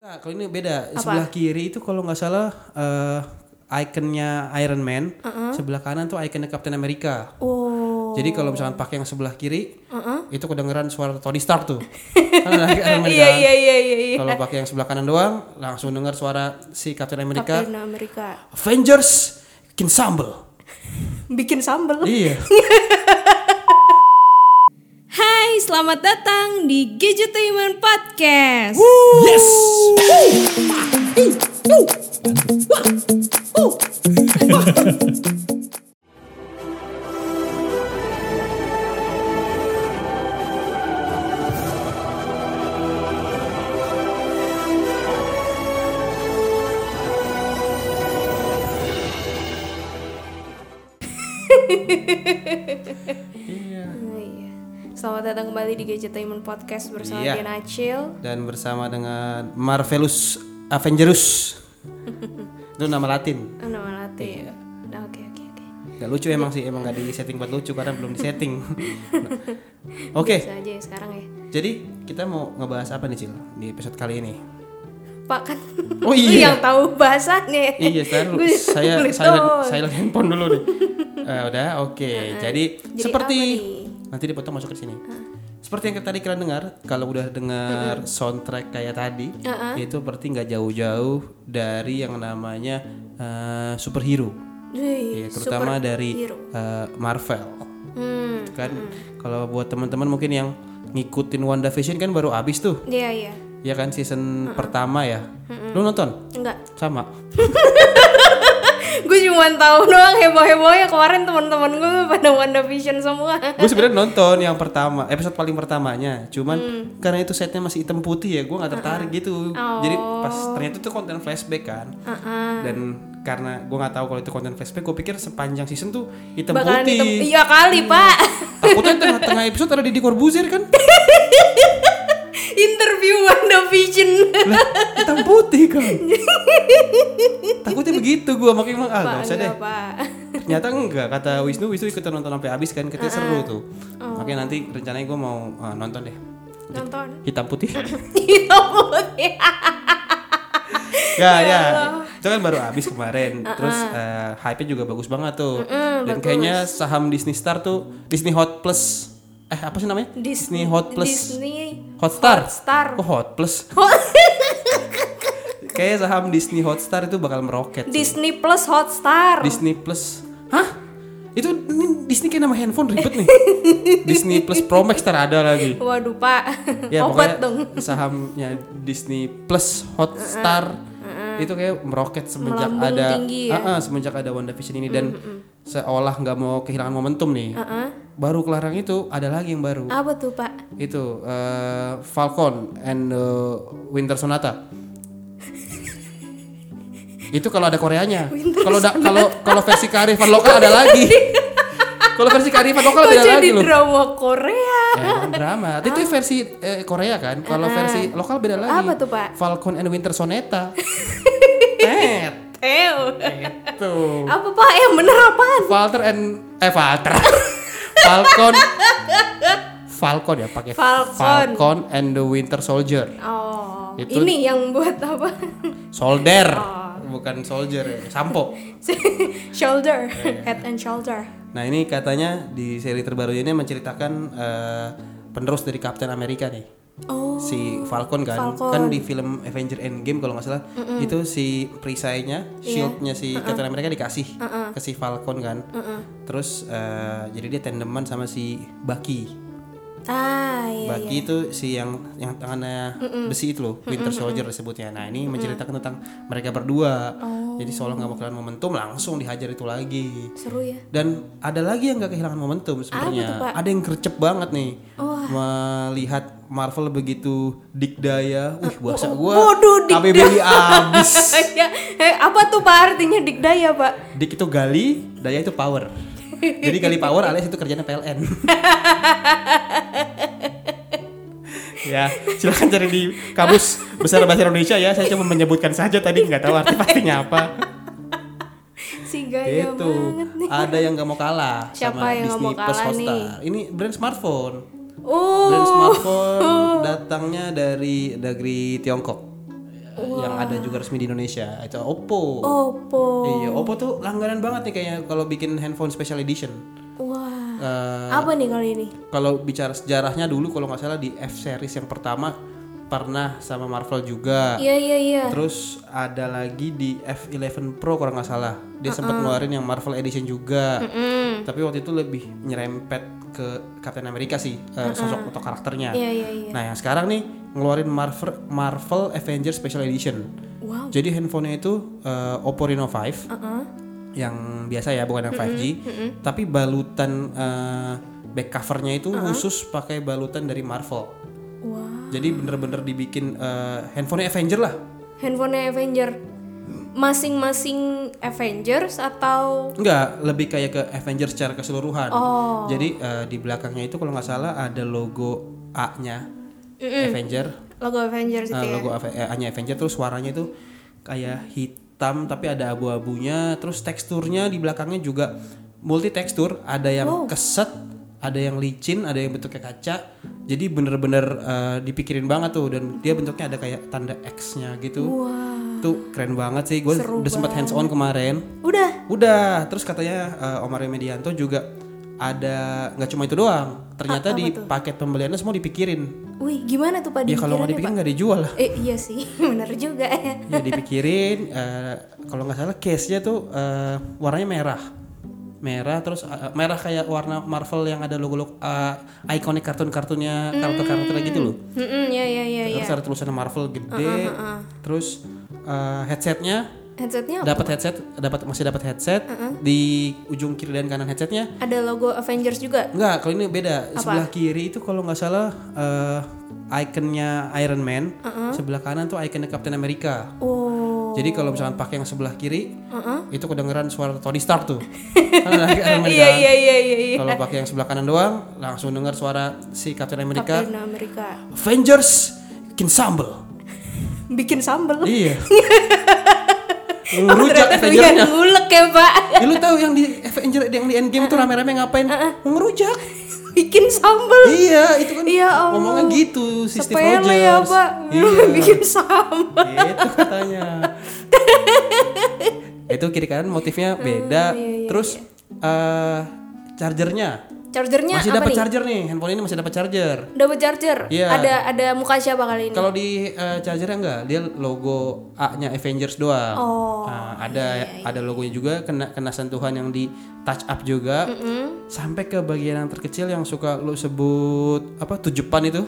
Ah, kalau ini beda. Apa? Sebelah kiri itu kalau nggak salah eh ikonnya Iron Man, Uh-uh. sebelah kanan tuh ikonnya Captain America. Oh. Uh-uh. Jadi kalau misalkan pakai yang sebelah kiri, itu kedengeran suara Tony Stark tuh. Kan ada Iron Man iya kan? iya iya iya. iya. Kalau pakai yang sebelah kanan doang, langsung dengar suara si Captain America. Captain Amerika. Avengers bikin sambel. Bikin sambel. iya. Hai, selamat datang di Gadgetainment Podcast. Yes. Oh, iya. Selamat datang kembali di Gadgetainment Podcast bersama Iya. Diana Acil. Dan bersama dengan Marvelous Avengers. itu nama Latin. Ah, Nama Latin. Iya. Nah, Oke oke oke. Gak lucu emang sih, emang gak di setting buat lucu karena belum di setting. Oke, Bisa aja ya sekarang ya. jadi kita mau ngebahas apa nih Cil di episode kali ini? Pak kan Oh, lu iya. yang tahu bahasanya. iya, saya Gua saya nulis silent, doang. silent handphone dulu nih. Eh, udah, oke. Jadi, Jadi seperti apa nih? nanti dipotong masuk ke sini. Seperti yang tadi kalian dengar, kalau udah dengar soundtrack kayak tadi, itu berarti nggak jauh-jauh dari yang namanya eh, superhero, Wih, Ya, terutama dari superhero. eh, Marvel. Hmm. kan kalau buat teman-teman mungkin yang ngikutin WandaVision kan baru abis tuh Iya iya. ya kan season pertama ya lu nonton Enggak. sama gue cuma tahu doang heboh-hebohnya kemarin teman-teman gue pada WandaVision semua. gue sebenarnya nonton yang pertama episode paling pertamanya cuman Mm. karena itu setnya masih hitam putih ya gue nggak tertarik gitu jadi Oh. pas ternyata itu konten flashback kan dan karena gue nggak tahu kalau itu konten flashback gue pikir sepanjang season tuh hitam Bakalan putih hitam. Iya kali, Hmm. Pak. takutnya tengah-tengah episode ada Deddy Corbuzier kan Interview WandaVision. Lah, hitam putih kan takutnya begitu gue makanya bilang, ah Pak, ya nggak usah deh enggak, Pak. ternyata enggak kata Wisnu Wisnu ikutan nonton sampai habis kan katanya seru tuh makanya nanti rencananya gue mau ah, nonton deh Nonton. hitam putih Iya, putih. ya ya itu kan baru habis kemarin terus eh, hype-nya juga bagus banget tuh dan kayaknya saham Disney Star tuh Disney Hot Plus eh apa sih namanya Disney, Hot Plus Disney Hotstar Star. kok Hot Plus Kayaknya saham Disney Hotstar itu bakal meroket sih. Disney Plus Hotstar. Disney Plus. Hah? Itu ini Disney kayak nama handphone ribet nih. Disney Plus Pro Max ntar ada lagi. Waduh, Pak. Ya Obat pokoknya dong. sahamnya Disney Plus Hotstar itu kayak meroket semenjak Melambung ada tinggi ya? Ah, ah, semenjak ada WandaVision ini dan seolah nggak mau kehilangan momentum nih. Baru kelarang itu ada lagi yang baru. Apa tuh, Pak? Itu eh, Falcon and the Winter Sonata. itu kalau ada Koreanya. Kalau da- kalau kalau versi kearifan lokal ada lagi. kalau versi kearifan lokal Kok beda jadi lagi loh. drama Korea? Ya, emang drama. Itu versi eh, Korea kan. Kalau versi lokal beda lagi. Ah. Apa tuh, Pak? Falcon and Winter Sonata. eh, Eh, tuh. apa Pak? Eh, bener apaan? Walter and eh Walter. Falcon Falcon ya pakai Falcon. Falcon and the Winter Soldier. Oh, Itu- ini yang buat apa? Solder. Oh. Bukan soldier ya, sampo. shoulder, Eh. head and shoulder. Nah, ini katanya di seri terbaru ini menceritakan eh, penerus dari Captain America nih. Oh, si Falcon kan Falcon. kan di film Avenger Endgame kalau nggak salah itu si perisainya Iya. shieldnya si Captain America dikasih ke si Falcon kan terus eh, jadi dia tandeman sama si Bucky ah iya. Bucky itu si yang yang tangannya besi itu loh, Winter Soldier disebutnya. Nah ini menceritakan tentang mereka berdua. Oh. Jadi seolah nggak mau kehilangan momentum, langsung dihajar itu lagi. Seru ya. Dan ada lagi yang nggak kehilangan momentum Apa tuh, Pak? sebenarnya. Ada yang gercep banget nih melihat Marvel begitu dikdaya. Wih, bahasa gua Uh, waduh, KBBI abis. ya, eh, apa tuh Pak artinya dikdaya Pak? Dik itu gali, daya itu power. Jadi gali power alias itu kerjanya PLN. ya, silahkan cari di kamus besar bahasa Indonesia ya. Saya cuma menyebutkan saja tadi nggak tahu arti pastinya apa. Si gaya Itu banget nih. ada yang nggak mau kalah Siapa sama yang nggak Disney mau Plus kalah Hotstar. Ini brand smartphone. Oh, Brand smartphone datangnya dari negeri Tiongkok. oh, yang ada juga resmi di Indonesia itu Oppo. Oppo. Iya, Oppo tuh langganan banget nih kayaknya kalau bikin handphone special edition. Wah. Eh, Apa nih kali ini? kalau bicara sejarahnya dulu kalau nggak salah di F series yang pertama pernah sama Marvel juga. Iya iya iya. Terus ada lagi di F11 Pro kalau nggak salah. Dia sempat ngeluarin yang Marvel Edition juga. Tapi waktu itu lebih nyerempet ke Captain America sih eh, sosok atau karakternya. Iya iya iya. Nah, yang sekarang nih ngeluarin Marvel Marvel Avengers Special Edition. Wow. Jadi handphonenya itu eh, Oppo Reno 5 Heeh. yang biasa ya, bukan yang 5G. Tapi balutan eh, back covernya itu Uh-huh. khusus pakai balutan dari Marvel. Wah. Jadi bener-bener dibikin eh, handphonenya Avenger lah. Handphonenya Avenger. Masing-masing Avengers atau Enggak, lebih kayak ke Avengers secara keseluruhan. Oh. Jadi eh, di belakangnya itu kalau nggak salah ada logo A-nya Avenger, logo eh, Avengers itu ya? logo Ave- eh, A-nya Avenger terus warnanya itu kayak hitam tapi ada abu-abunya, terus teksturnya di belakangnya juga multi tekstur, ada yang keset, ada yang licin, ada yang bentuknya kaca. Jadi bener-bener eh, dipikirin banget tuh dan dia bentuknya ada kayak tanda X-nya gitu. Tuh keren banget sih. Gue udah sempat hands on kemarin. Udah. Udah, terus katanya eh, Omar Medianto juga ada nggak cuma itu doang. Ternyata di paket pembeliannya semua dipikirin. Wih, gimana tuh Pak Ya kalau nggak dipikirin dipikirannya, nggak dijual lah. Pak? Eh, iya sih, bener juga ya. Ya dipikirin. eh, kalau nggak salah case-nya tuh eh, warnanya merah, merah terus eh, merah kayak warna Marvel yang ada logo logo ikonik kartun-kartunnya karakter-karakter gitu loh. Mm-mm, ya ya ya ya. Terus ada tulisan Marvel gede. Terus eh, headsetnya Headsetnya apa? dapat headset, dapat masih dapat headset di ujung kiri dan kanan headsetnya ada logo Avengers juga. Enggak, kalau ini beda. Sebelah kiri itu kalau nggak salah eh, ikonnya Iron Man, Uh-uh. sebelah kanan tuh ikonnya Captain America. Oh, Jadi kalau misalkan pakai yang sebelah kiri, itu kedengeran suara Tony Stark tuh. Kan ada Iron Man Uh-uh. iya kan? iya iya iya. iya. Kalau pakai yang sebelah kanan doang, langsung dengar suara si Captain America. Captain Amerika. Avengers Kinsambel. Bikin sambel. iya. Ngerujak Iya, Avengersnya. ngulek ya, Pak. Ya, lu tahu yang di Avenger yang di Endgame Uh-uh. tuh rame-rame ngapain? Ngerujak. Bikin sambel. Iya, itu kan Iya, Allah. ngomongnya gitu si Steve Sepele Rogers. ya, Pak. Iya, Bikin sambel. gitu katanya. itu kiri kanan motifnya Hmm, beda. iya, Terus eh, chargernya Chargernya masih iya. apa dapat nih? charger nih. Handphone ini masih dapat charger. Dapat charger. Iya. Ada ada muka siapa kali ini? Kalau di eh, chargernya enggak, dia logo A-nya Avengers doang. Oh, iya. Nah, ada ada logonya juga kena kena sentuhan yang di touch up juga. Sampai ke bagian yang terkecil yang suka lu sebut apa tujuan itu?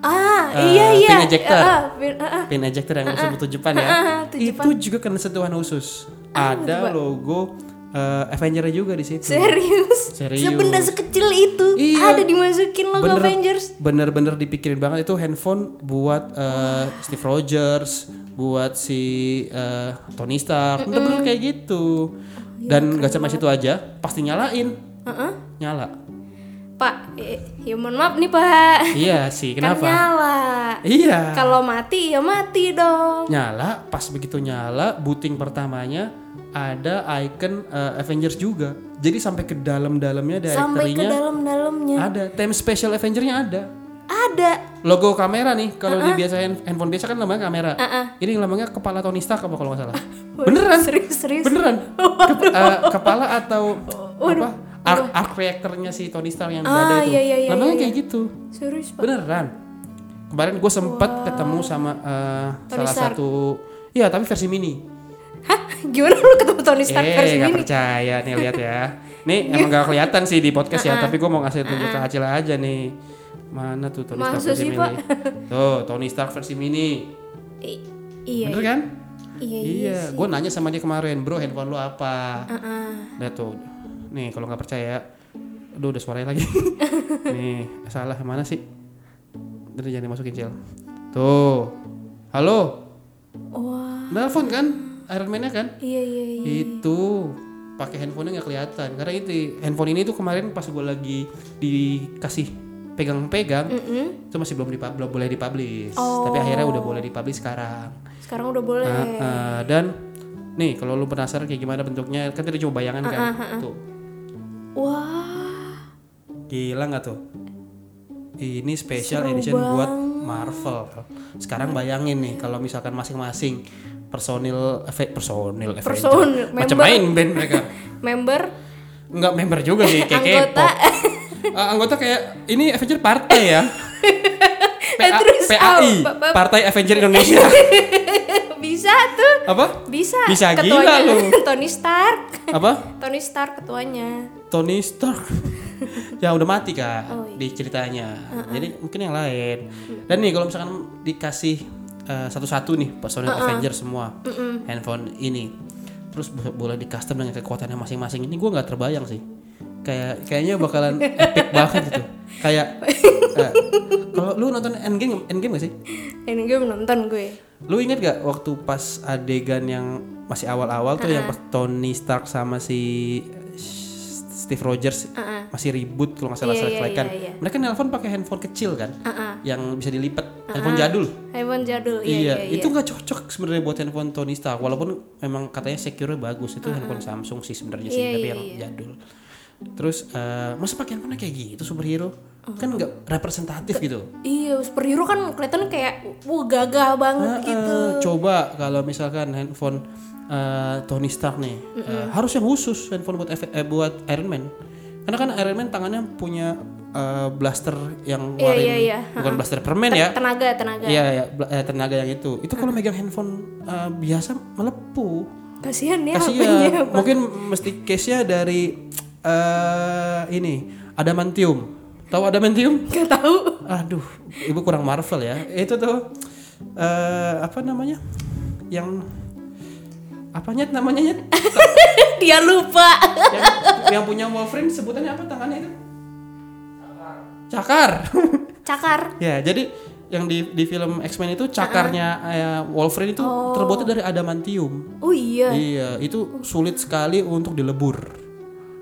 Ah, Eh, iya iya. pin ejector. Ah, ah, pin- ah, ah. pin ejector yang disebut tujuan ya. Itu juga kena sentuhan khusus. Ah, Ada logo eh, Avenger-nya juga di situ. Serius? Serius. Sebenda sekecil itu Iya. ada dimasukin logo Avengers. Bener-bener dipikirin banget itu handphone buat eh, Steve Rogers, buat si eh, Tony Stark, bener-bener kayak Oh, gitu. iya, Dan gak cuma situ aja, pasti nyalain. Nyala. Ah, Pak, eh, ya mohon maaf nih, Pak. Iya sih, Kan kenapa? nyala. Iya. Kalau mati ya mati dong. nyala pas begitu nyala booting pertamanya ada icon eh, Avengers juga jadi sampai ke dalam-dalamnya Sampai ke directory-nya dalam-dalamnya. ada time special Avenger-nya ada Ah. Ada. logo kamera nih kalau di Uh-uh. biasa hand- handphone biasa kan lambangnya kamera ini lambangnya kepala Tony Stark apa kalau nggak salah beneran Serius, serius. beneran Ke- eh, kepala atau apa arc, arc reactor-nya si Tony Stark yang ada Ah, itu iya, iya, iya, lambangnya kayak gitu Serius, Pak. Beneran. Kemarin gue sempet ketemu sama eh, Tony salah Stark. satu, iya tapi versi mini. Hah? Gimana lu ketemu Tony Stark versi eh, gak ini? percaya nih lihat ya. Nih emang gak kelihatan sih di podcast ya, tapi gue mau ngasih tunjuk ke Acil aja nih. Mana tuh Tony Masa Stark versi sih, mini? Pak? Tuh Tony Stark versi mini. I- iya, Bener kan? iya, iya. Iya, gue nanya sama dia kemarin, bro handphone lu apa? Ah, Lihat tuh, nih kalau nggak percaya, aduh udah suaranya lagi. nih salah mana sih? Udah jangan dimasukin cel. Tuh, halo, Wah, nelfon kan? Iron Man-nya kan? iya, iya, iya. Itu pakai handphonenya nggak kelihatan karena itu handphone ini tuh kemarin pas gue lagi dikasih pegang-pegang Mm. itu masih belum dipa- belum boleh dipublish tapi akhirnya udah boleh dipublish sekarang Sekarang udah Oh. boleh. Nah, eh, dan nih kalau lu penasaran kayak gimana bentuknya kan tadi cuma Ah, bayangan kan tuh Wah, Gila nggak tuh? Ini special seru edition buat banget. Marvel. Sekarang bayangin nih kalau misalkan masing-masing personil efek personil Avenger. Personil, macam member. main band mereka. member Enggak member juga sih kayak Anggota. Eh, K-pop. Eh, anggota kayak ini Avenger partai ya. PA, Terus, PAI, ah, ba- ba- Partai Avenger Indonesia. bisa tuh Apa? bisa Bisa gila lu. Tony Stark Apa? Tony Stark ketuanya Tony Stark yang udah mati kak Oh, iya. Uh-uh. Hmm. di ceritanya jadi mungkin yang lain dan nih kalau misalkan dikasih eh, satu-satu nih personil Uh-uh. Avenger semua handphone ini terus bo- boleh di custom dengan kekuatannya masing-masing ini gue nggak terbayang sih kayak kayaknya bakalan epic banget gitu kayak eh, kalau lu nonton Endgame Endgame gak sih ini gue nonton gue lu inget gak waktu pas adegan yang masih awal-awal tuh Ah. yang pas Tony Stark sama si Steve Rogers masih ribut kalau nggak salah Ah, Iya, iya, selek-selekan. iya, Ah, iya. mereka nelpon pakai handphone kecil kan yang bisa dilipat handphone jadul handphone jadul iya, Ah, iya iya, iya. itu nggak cocok sebenarnya buat handphone Tony Stark walaupun memang katanya secure bagus itu handphone Samsung sih sebenarnya sih Ah, Iya, tapi iya, yang jadul terus eh masa pakai handphone kayak gitu superhero Oh. kan nggak representatif gitu Iya, superhero kan kelihatan kayak wah gagah banget Heeh, gitu. Coba kalau misalkan handphone eh, Tony Stark nih, eh, harus yang khusus handphone buat F- eh, buat Iron Man. Karena kan Iron Man tangannya punya eh, blaster yang Iya, ngeluarin iya, iya. bukan blaster permen ya. Tenaga, tenaga. Iya, ya, tenaga yang itu. Itu kalau megang handphone eh, biasa melepuh. Kasihan ya HP-nya. Kasihan. Mungkin mesti case-nya dari eh ini, adamantium. Tahu adamantium? Gak tahu. Aduh, ibu kurang Marvel ya. Itu tuh eh apa namanya? Yang apanya namanya Nyet? Dia lupa. yang, yang punya Wolverine sebutannya apa tangannya itu? Cakar. Cakar. ya, jadi yang di di film X-Men itu cakarnya eh, Wolverine itu terbuatnya dari adamantium. Oh iya. Iya, itu sulit sekali untuk dilebur.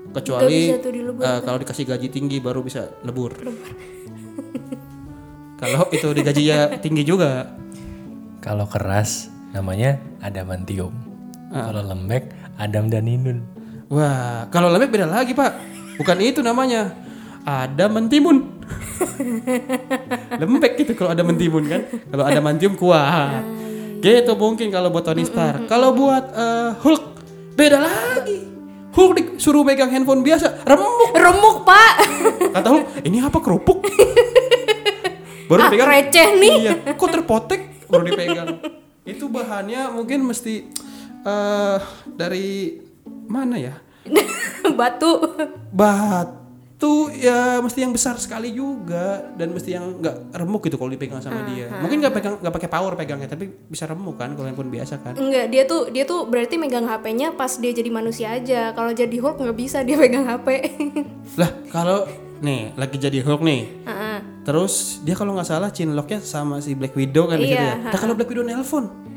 Kecuali Nggak bisa tuh dilebur, eh, kalau dikasih gaji tinggi baru bisa lebur. kalau itu digajinya tinggi juga. Kalau keras namanya adamantium. Kalau lembek Adam dan Inun. Wah, kalau lembek beda lagi pak. Bukan itu namanya. Ada mentimun. lembek gitu kalau ada mentimun kan. Kalau ada mantium Ah, kuat. iya, Gitu mungkin kalau buat Tony Stark. Kalau buat eh, Hulk beda lagi. Hulk disuruh megang handphone biasa, remuk. Remuk, Pak. Kata Hulk, ini apa kerupuk? Ah, receh nih. Iya, kok terpotek baru dipegang. Itu bahannya mungkin mesti eh dari mana ya? Batu. batu ya mesti yang besar sekali juga dan mesti yang nggak remuk gitu kalau dipegang sama dia mungkin nggak pegang nggak pakai power pegangnya tapi bisa remuk kan kalau handphone biasa kan Enggak, dia tuh dia tuh berarti megang HP-nya pas dia jadi manusia aja. Kalau jadi Hulk nggak bisa dia pegang HP. lah kalau nih lagi jadi Hulk nih Heeh. terus dia kalau nggak salah chinlocknya sama si Black Widow kan di situ ya Iya, nah kalau Black Widow nelpon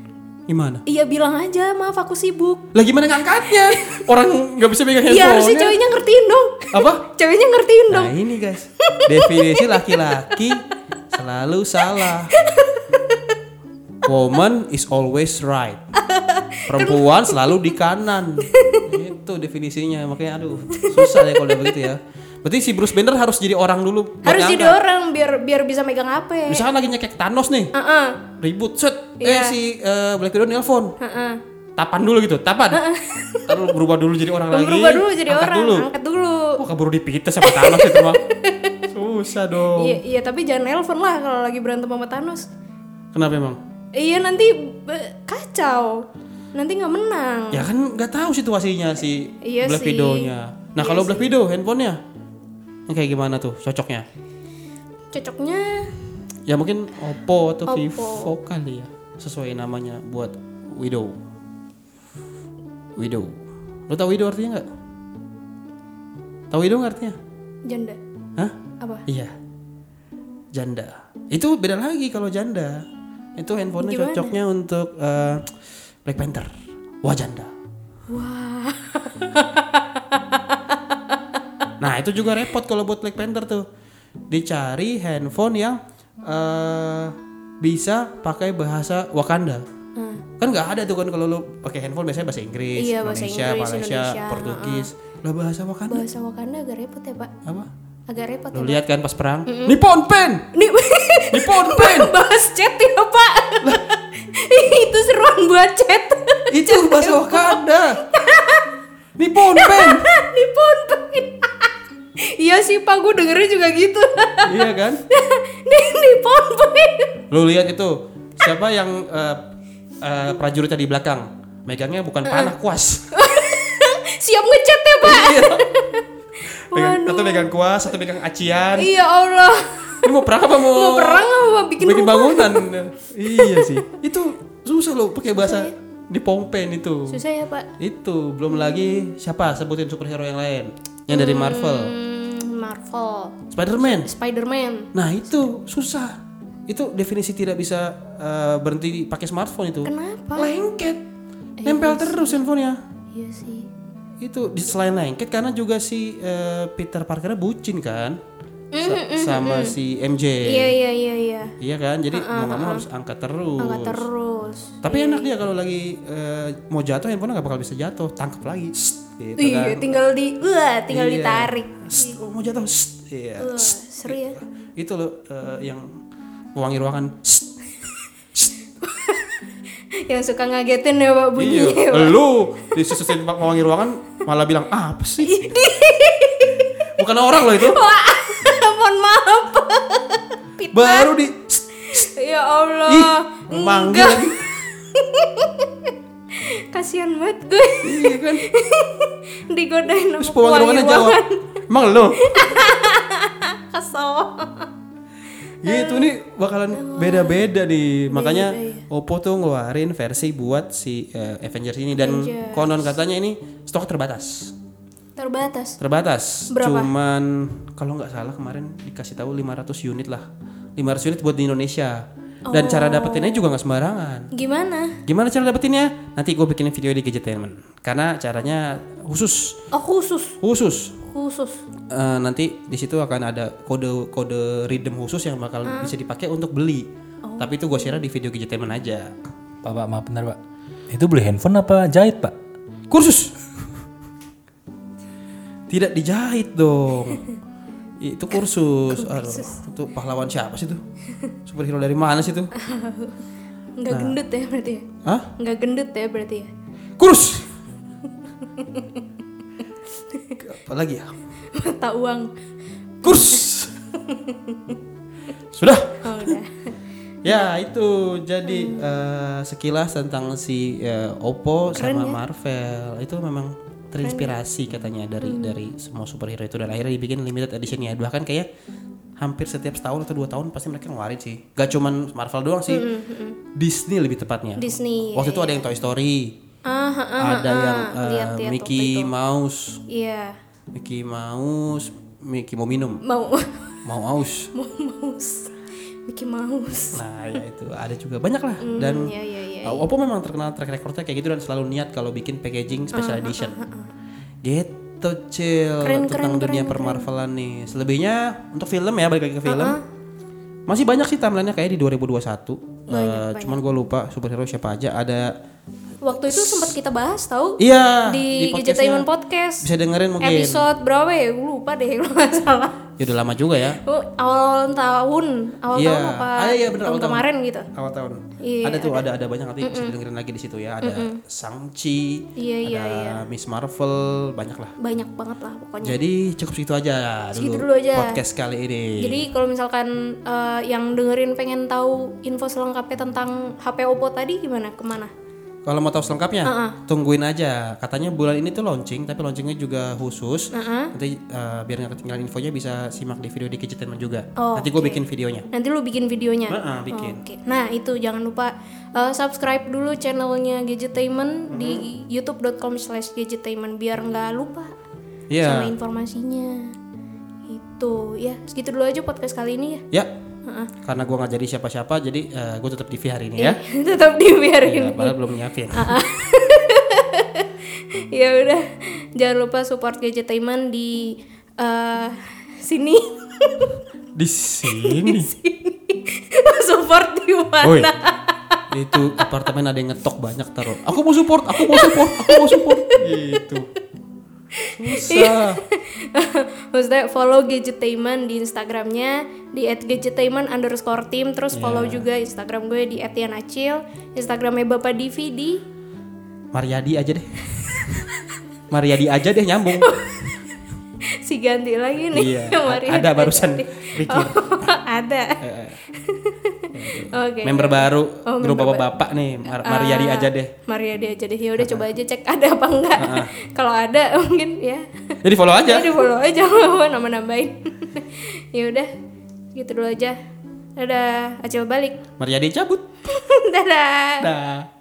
gimana iya, bilang aja, "Maaf aku sibuk." lah gimana ngangkatnya orang nggak bisa pegang handphone Iya, harusnya ceweknya ngertiin dong. apa Ceweknya ngertiin dong. Ya, Nah ini guys Definisi laki-laki Selalu salah Woman is always right Perempuan selalu di kanan Itu definisinya Makanya aduh Susah ya kalau udah begitu ya Berarti si Bruce Banner harus jadi orang dulu buat Harus jadi ngangkat. orang biar biar bisa megang HP. Misalkan lagi nyekek Thanos nih Heeh. Ribut set Eh Iya. si eh, Black Widow nelpon Heeh. Tapan dulu gitu Tapan Taruh berubah dulu jadi orang lagi berubah dulu jadi angkat orang, dulu. angkat dulu. Wah keburu dipites sama Thanos itu mah Susah dong Iya, iya, tapi jangan nelpon lah kalau lagi berantem sama Thanos. Kenapa emang? Iya nanti be- kacau, nanti nggak menang. Ya kan nggak tahu situasinya si Iya Black sih. Iya Widow-nya. Nah kalau Black Widow handphonenya yang kayak gimana tuh cocoknya? Cocoknya Ya mungkin Oppo atau Oppo. Vivo kali ya sesuai namanya buat Widow. Widow. Lo tau Widow artinya nggak? Tahu Widow nggak artinya? janda Hah? apa? Iya. Janda. Itu beda lagi kalau janda. Itu handphonenya Gimana? cocoknya untuk eh, Black Panther. Wah janda. Wah, Nah itu juga repot kalau buat Black Panther tuh dicari handphone yang eh, bisa pakai bahasa Wakanda. Kan nggak ada tuh kan kalau lu pakai handphone biasanya bahasa Inggris, Hmm. Iya, bahasa Indonesia, Inggris, Malaysia, Indonesia, Portugis. Lah bahasa Wakanda bahasa Wakanda agak repot ya pak, apa? agak repot. Lu Ya, lihat kan pas perang, Nippon Pen. Pak. Nih, Di Ponpen. Baru bahas chat ya pak Itu seruan buat chat Itu bahasa Wakanda. Di Ponpen. Di Ponpen Iya sih pak gue dengernya juga gitu Iya kan? Di, di Ponpen Lu lihat itu siapa yang eh, eh, prajuritnya di belakang megangnya bukan panah kuas. Siap ngechat ya pak Iya. Megang- satu megang kuas, satu megang acian. Iya Allah Ini mau perang apa mau? Mau perang apa bikin, bikin rumah? bangunan. iya sih. Itu susah loh pakai ya? bahasa di Pompen itu. Susah ya pak Itu belum lagi siapa sebutin superhero yang lain yang dari Marvel. Hmm, Marvel Spider-Man. Spider-Man Nah, itu susah. Itu definisi tidak bisa eh, berhenti pakai smartphone itu. Kenapa? Lengket. Nempel terus handphonenya. Iya sih Itu di selain lengket karena juga si eh, Peter Parker bucin kan. Sa- sama si MJ. Iya iya iya iya Iya kan, jadi mau nggak mau harus angkat terus. Angkat terus Iya. Tapi enak dia kalau lagi eh, mau jatuh handphone nggak bakal bisa jatuh, tangkap lagi. Sst, gitu Iya kan. tinggal di Wah tinggal Iya. ditarik Sst, oh, mau jatuh. Sst, iya. Wah, Sst. Seru ya Itu loh eh, yang mewangi ruangan. Sst. Yang suka ngagetin ya pak bunyinya ya, Iya, Pak. lu disusutin pak mewangi ruangan malah bilang "Ah, apa sih? Iya. Bukan orang loh itu. Wah Mohon maaf Baru di Sst, ih, Ya Allah manggil lagi. Kasian banget gue Iya kan. Digodain Terus sama pewangi ruangannya jawab. ruangan. Emang lo Kesel gitu nih bakalan beda-beda nih makanya Iya, Oppo tuh ngeluarin versi buat si eh, Avengers ini dan Avengers. konon katanya ini stok terbatas Terbatas terbatas Berapa? cuman kalau nggak salah kemarin dikasih tahu 500 unit lah 500 unit buat di Indonesia dan cara Oh. dapetinnya juga nggak sembarangan Gimana? gimana cara dapetinnya nanti gue bikinin video di Gadgetainment karena caranya khusus Oh khusus khusus Khusus Eh, nanti di situ akan ada kode kode redeem khusus yang bakal bisa dipakai untuk beli. Tapi itu gue share di video gadgetainment aja. Pak, Pak, maaf benar, Pak. Itu beli handphone apa jahit, Pak? Kursus. Tidak dijahit dong. itu kursus. Aduh, itu pahlawan siapa sih itu? Superhero dari mana sih itu? Nggak Nah. gendut ya berarti ya Hah? Nggak gendut ya berarti ya Kurus. Apa lagi ya? Mata uang Kurs. Sudah. Oh udah Ya itu jadi eh, sekilas tentang si eh, Oppo ya. sama Marvel itu memang terinspirasi katanya dari Hmm. dari semua superhero itu dan akhirnya dibikin limited edition ya bahkan kayak hampir setiap setahun atau dua tahun pasti mereka ngeluarin sih gak cuman Marvel doang sih Disney lebih tepatnya Hmm, Disney waktu itu ada yang Toy Story Ah, ah, ah, ada yang eh, lihat-lihat Mickey Mouse Iya Mickey Mouse Mickey mau minum Mau mau aus Mau mouse Mickey Mouse Nah, ya itu ada juga banyak lah dan ya, ya, ya, uh, Oppo memang terkenal track recordnya kayak gitu dan selalu niat kalau bikin packaging Ah, special edition. Gitu cil Keren, tentang keren, dunia keren, Ah, permarvelan nih. Selebihnya untuk film ya balik lagi ke film. Masih banyak sih timelinenya kayak di 2021. Eh, cuman gue lupa superhero siapa aja ada. Waktu itu sempat kita bahas tahu Iya di, podcastnya. Gadgetainment Podcast. Bisa dengerin mungkin. Episode berapa ya? Gue lupa deh kalau nggak salah. Ya udah lama juga ya. Oh, awal tahun, awal Iya. tahun apa? Ah, iya, bener, tahun awal tahun. kemarin gitu. awal tahun. Iya, ada tuh ada ada banyak nanti bisa dengerin lagi di situ ya. Ada Shang-Chi, Iya, ada iya, Miss Marvel, banyak lah. Banyak banget lah pokoknya. Jadi cukup segitu aja dulu, Segitu dulu aja. podcast kali ini. Jadi kalau misalkan eh, yang dengerin pengen tahu info selengkapnya tentang HP Oppo tadi gimana? Kemana? Kalau mau tahu selengkapnya, tungguin aja. Katanya bulan ini tuh launching, tapi launchingnya juga khusus. Nanti eh, biar nggak ketinggalan infonya bisa simak di video di Gadgetainment juga. Oh, Nanti gue oke. bikin videonya. Nanti lu bikin videonya. Heeh, bikin. Oke. Nah, itu jangan lupa uh, subscribe dulu channelnya Mm-hmm. Gadgetainment di youtube.com/gadgetainment biar nggak lupa Oh. sama Iya. informasinya. Itu ya, segitu dulu aja podcast kali ini ya. Ya. Karena gue nggak jadi siapa-siapa, jadi gue tetap di hari ini Iya. ya. Tetap dibiarin. Iya, padahal belum nyiapin. ya udah, jangan lupa support Gadgetainment di uh, sini. Di sini. support di mana? Woi. Itu apartemen ada yang ngetok banyak taruh. Aku mau support, aku mau support, aku mau support. Gitu. susah Iya. Maksudnya follow Gadgetainment di Instagramnya di @gadgetainment underscore team terus Iya. follow juga Instagram gue di @tianacil Instagramnya Bapak Divi di Mariadi aja deh Mariadi aja deh nyambung si ganti lagi Oh, nih iya Mari a- ada kita barusan Eh, ganti. pikir Oh, ada oke member baru Oh, grup member Ah. bapak-bapak nih Mar- Mariadi aja deh Maria dia aja deh ya udah coba aja cek ada apa enggak kalau ada mungkin ya jadi follow aja ya di follow aja nama nambahin ya udah gitu dulu aja dadah acil balik Mariadi cabut dadah dah